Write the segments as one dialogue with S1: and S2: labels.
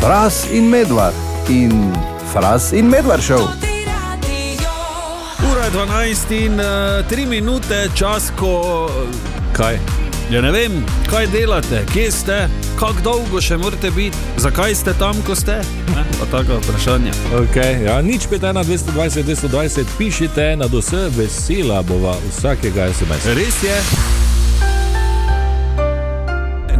S1: Fras in medvard in fras in medvard šel.
S2: Ura je 12 in 3 minute, čas, ko. Kaj? Ja ne vem, kaj delate, kje ste, kako dolgo še morate biti, zakaj ste tam, ko ste? Ne? Pa Tako vprašanje.
S3: Okay, ja, nič 51, 220, 220, pišite na vse, vesela bova vsakega SMS.
S2: Res je.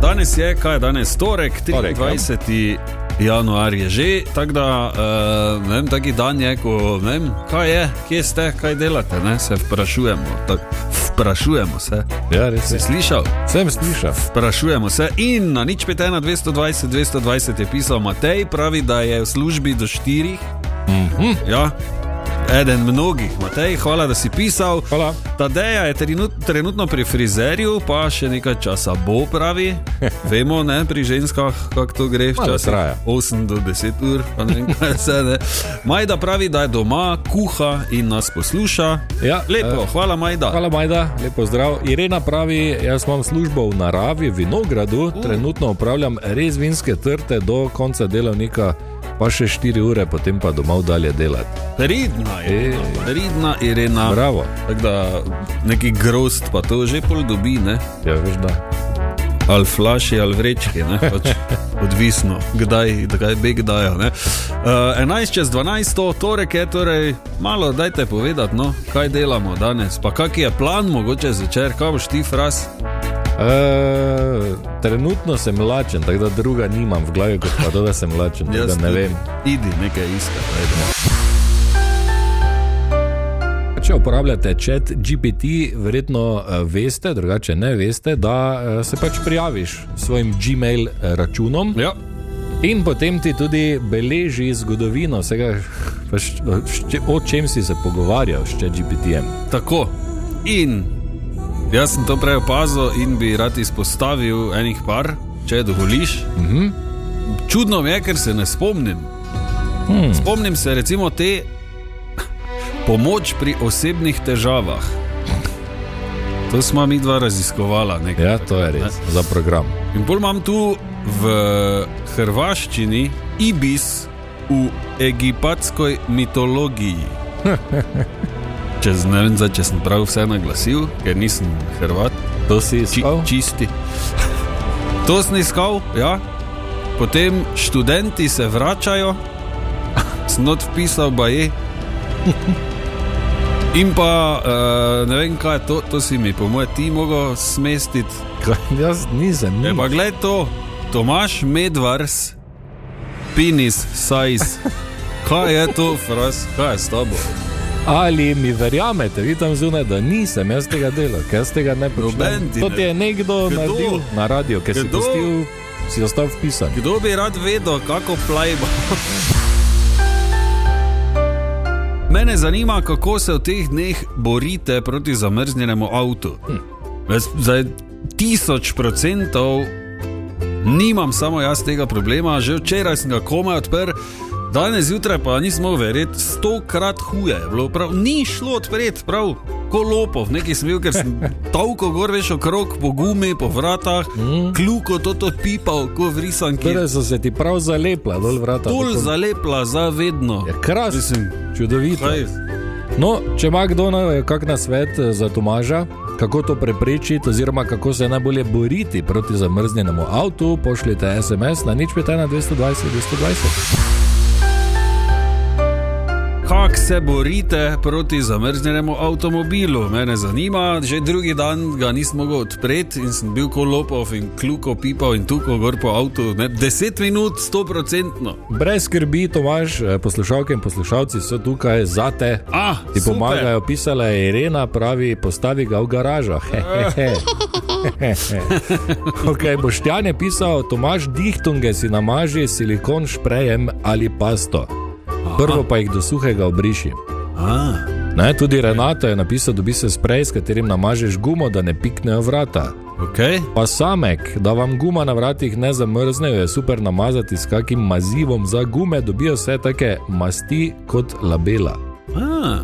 S2: Danes je, kaj je danes, torek,
S3: Torek, ja.
S2: 23. januar je že, tako da uh, ne vem, taki dan je, ko ne vem, kaj je, kje ste, kaj delate, ne? se vprašujemo. Tak, vprašujemo se.
S3: Ja, res
S2: Si
S3: je.
S2: slišal?
S3: Sem slišal.
S2: Vprašujemo se in na nič 5, 1, 220, 220 je pisal Matej, pravi, da je v službi do 4.
S3: Mhm.
S2: Mm -hmm. Ja, eden mnogih. Matej, hvala, da si pisal.
S3: Hvala.
S2: Tadeja je trenut, trenutno pri frizerju, pa še nekaj časa bo, pravi. Vemo, ne, pri ženskah, kako to gre,
S3: Malo traja.
S2: 8 do 10 ur, pa ne vem, kaj se ne. Majda pravi, da je doma, kuha in nas posluša.
S3: Ja,
S2: Lepo,
S3: eh,
S2: hvala, Majda.
S3: Hvala, Majda, lepo zdrav. Irena pravi, jaz imam službo v naravi, v vinogradu, uh. trenutno upravljam res vinske trte do konca delovnika, pa še 4 ure, potem pa domov dalje delati.
S2: Ridna je,
S3: Ej.
S2: ridna Irena.
S3: Bravo,
S2: Tako da neki grozd pa to že pol dobi, ne?
S3: ja, veš da.
S2: ali flaši ali vrečki, ne? Pač odvisno, kdaj, kdaj beg dajo. Ne? Uh, 11 čez 12, torek je torej, malo dajte povedati, no, kaj delamo danes, pa kak je plan mogoče zvečer, kaj boš ti fras.
S3: E, trenutno sem lačen, tako da druga nimam v glavi, kot pa to, da sem lačen. tako Da ne
S2: tudi.
S3: vem.
S2: Idi nekaj iska.
S3: Če uporabljate čat GPT, verjetno eh, veste, drugače ne veste, da eh, se pač prijaviš s svojim Gmail eh, računom.
S2: Ja,
S3: In potem ti tudi beleži zgodovino vsega, pa šč- šč- o čem si se pogovarjal s GPT-jem.
S2: tako. In jaz sem to prej opazil in bi rad izpostavil enih par, če dovoliš.
S3: Uh -huh.
S2: Čudno mi je, ker se ne spomnim. Hmm. Spomnim se recimo te pomoč pri osebnih težavah. To smo mi dva raziskovala. Nekaj,
S3: Ja, to je res, za program.
S2: In bolj imam tu v hrvaščini ibis v egipatskoj mitologiji. Če z- ne vem, zdaj, če sem prav vse naglasil, ker nisem Hrvat.
S3: To si
S2: Či,
S3: iskal?
S2: čisti. To sem iskal, ja. Potem študenti se vračajo, snot pisal baje. In pa eh, ne vem, kaj je to, to si mi, po mojem, ti mogel smestiti.
S3: Kaj, Jaz nisem.
S2: E pa gled to, Tomaš Medvars, penis size. Kaj je to, fras, kaj je s tabo?
S3: Ali mi verjamete, vi tam zunaj, da nisem jaz tega delal, ker jaz tega ne
S2: Noben
S3: počnem.
S2: ti
S3: To
S2: ne.
S3: ti je nekdo
S2: Kdo?
S3: naredil na radio, ker si
S2: Kdo?
S3: pustil, si ostal vpisan.
S2: Kdo bi rad vedel, kako plajba? Mene zanima, kako se v teh dneh borite proti zamrznjenemu avtu. Jaz Zdaj, tisoč procentov nimam samo jaz tega problema, že včeraj sem ga komaj odprl. Danes zjutraj pa nismo verjeti, stokrat huje je bilo, prav, ni šlo odpreti, prav, kolopov, nekaj smil, ker sem toliko gor veš okrog, po gumi, po vratah,
S3: Mm.
S2: kljuko to odpipal, ko vrisan, ki je
S3: Torej so se ti prav zalepla, dol vrata.
S2: tol
S3: tako-
S2: zalepla za vedno.
S3: Ja, Krasno,
S2: Mislim,
S3: čudovito.
S2: kaj,
S3: No, če ima kdo na- kak na svet eh, za Tomaža, kako to preprečiti, oziroma kako se najbolje boriti proti zamrznjenemu avtu, pošljite SMS na nič 5 na 220 220.
S2: Kako se borite proti zamrznjenemu avtomobilu? Mene zanima, že drugi dan ga nisem mogel odpreti in sem bil kolopov in kljuko pipal in tukaj gor po avtu. Ne? 10 minut, 100%.
S3: Brez skrbi, Tomaž, eh, poslušalke in poslušalci so tukaj za te.
S2: Ah,
S3: Ti
S2: super.
S3: pomagajo, pisala je Irena, pravi, postavi ga v garažo. okay, Boštjan je pisal, Tomaž dihtunge si namaži s silikon šprejem ali pasto. Prvo pa jih do suhega obriši.
S2: Ah,
S3: Ne, tudi Renato je napisal, dobi se sprej, s katerim namažeš gumo, da ne piknejo vrata.
S2: okay.
S3: Pa samek, da vam guma na vratih ne zamrzne, jo je super namazati s kakim mazivom za gume, dobijo vse take masti kot labela.
S2: ah,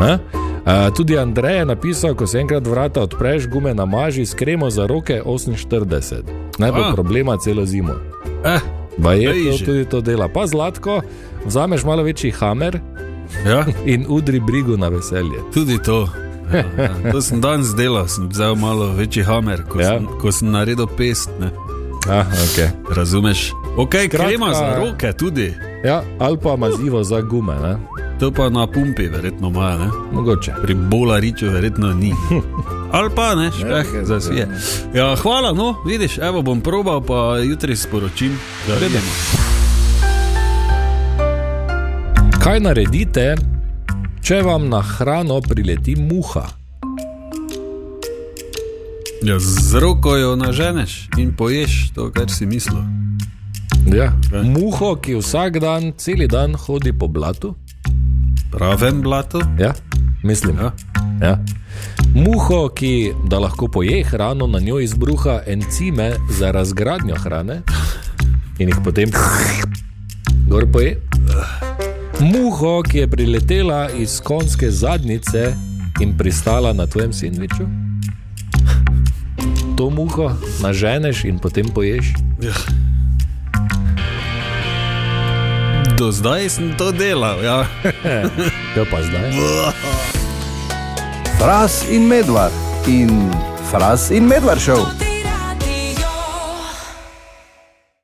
S3: Ne? E, tudi Andrej je napisal, ko se enkrat vrata odpreš, gume namaži s kremo za roke 48. Ne bo
S2: A.
S3: problema celo zimo.
S2: eh,
S3: Baje
S2: Bejži.
S3: to, tudi to dela. Pa zlatko, vzameš malo večji hamer
S2: Ja,
S3: in udri brigo na veselje.
S2: tudi to. Ja, ja. To sem danes delal, sem vzel malo večji hamer, ko,
S3: Ja.
S2: ja. sem, ko sem naredil pest. Ne.
S3: Ah, okay.
S2: Razumeš? Ok,
S3: Skratka-
S2: krema za roke tudi,
S3: ja, ali pa mazivo za gume, ne?
S2: to pa na pumpi, verjetno imajo. Ne.
S3: mogoče.
S2: Pri Bolariču verjetno ni. Ali pa ne, špeh, za vse. Ja, hvala, no, vidiš, evo bom probal, pa jutri sporočim, da vedem.
S3: Kaj naredite, če vam na hrano prileti muha?
S2: Ja, z roko jo naženeš in poješ to, kar si mislil.
S3: Ja. Muho, ki vsak dan, cel dan hodi po blatu.
S2: Pravem blato?
S3: Ja, mislim.
S2: Ja.
S3: Ja. Muho, ki da lahko poje hrano, na njo izbruha encime za razgradnjo hrane in jih potem gor poje. Muho, ki je priletela iz konjske zadnjice in pristala na tvojem sendviču. To muho naženeš in potem poješ.
S2: Ja. Do zdaj sem to delal, ja.
S3: Ja, pa zdaj.
S1: Fras in Medvard in Fras in Medvard šel.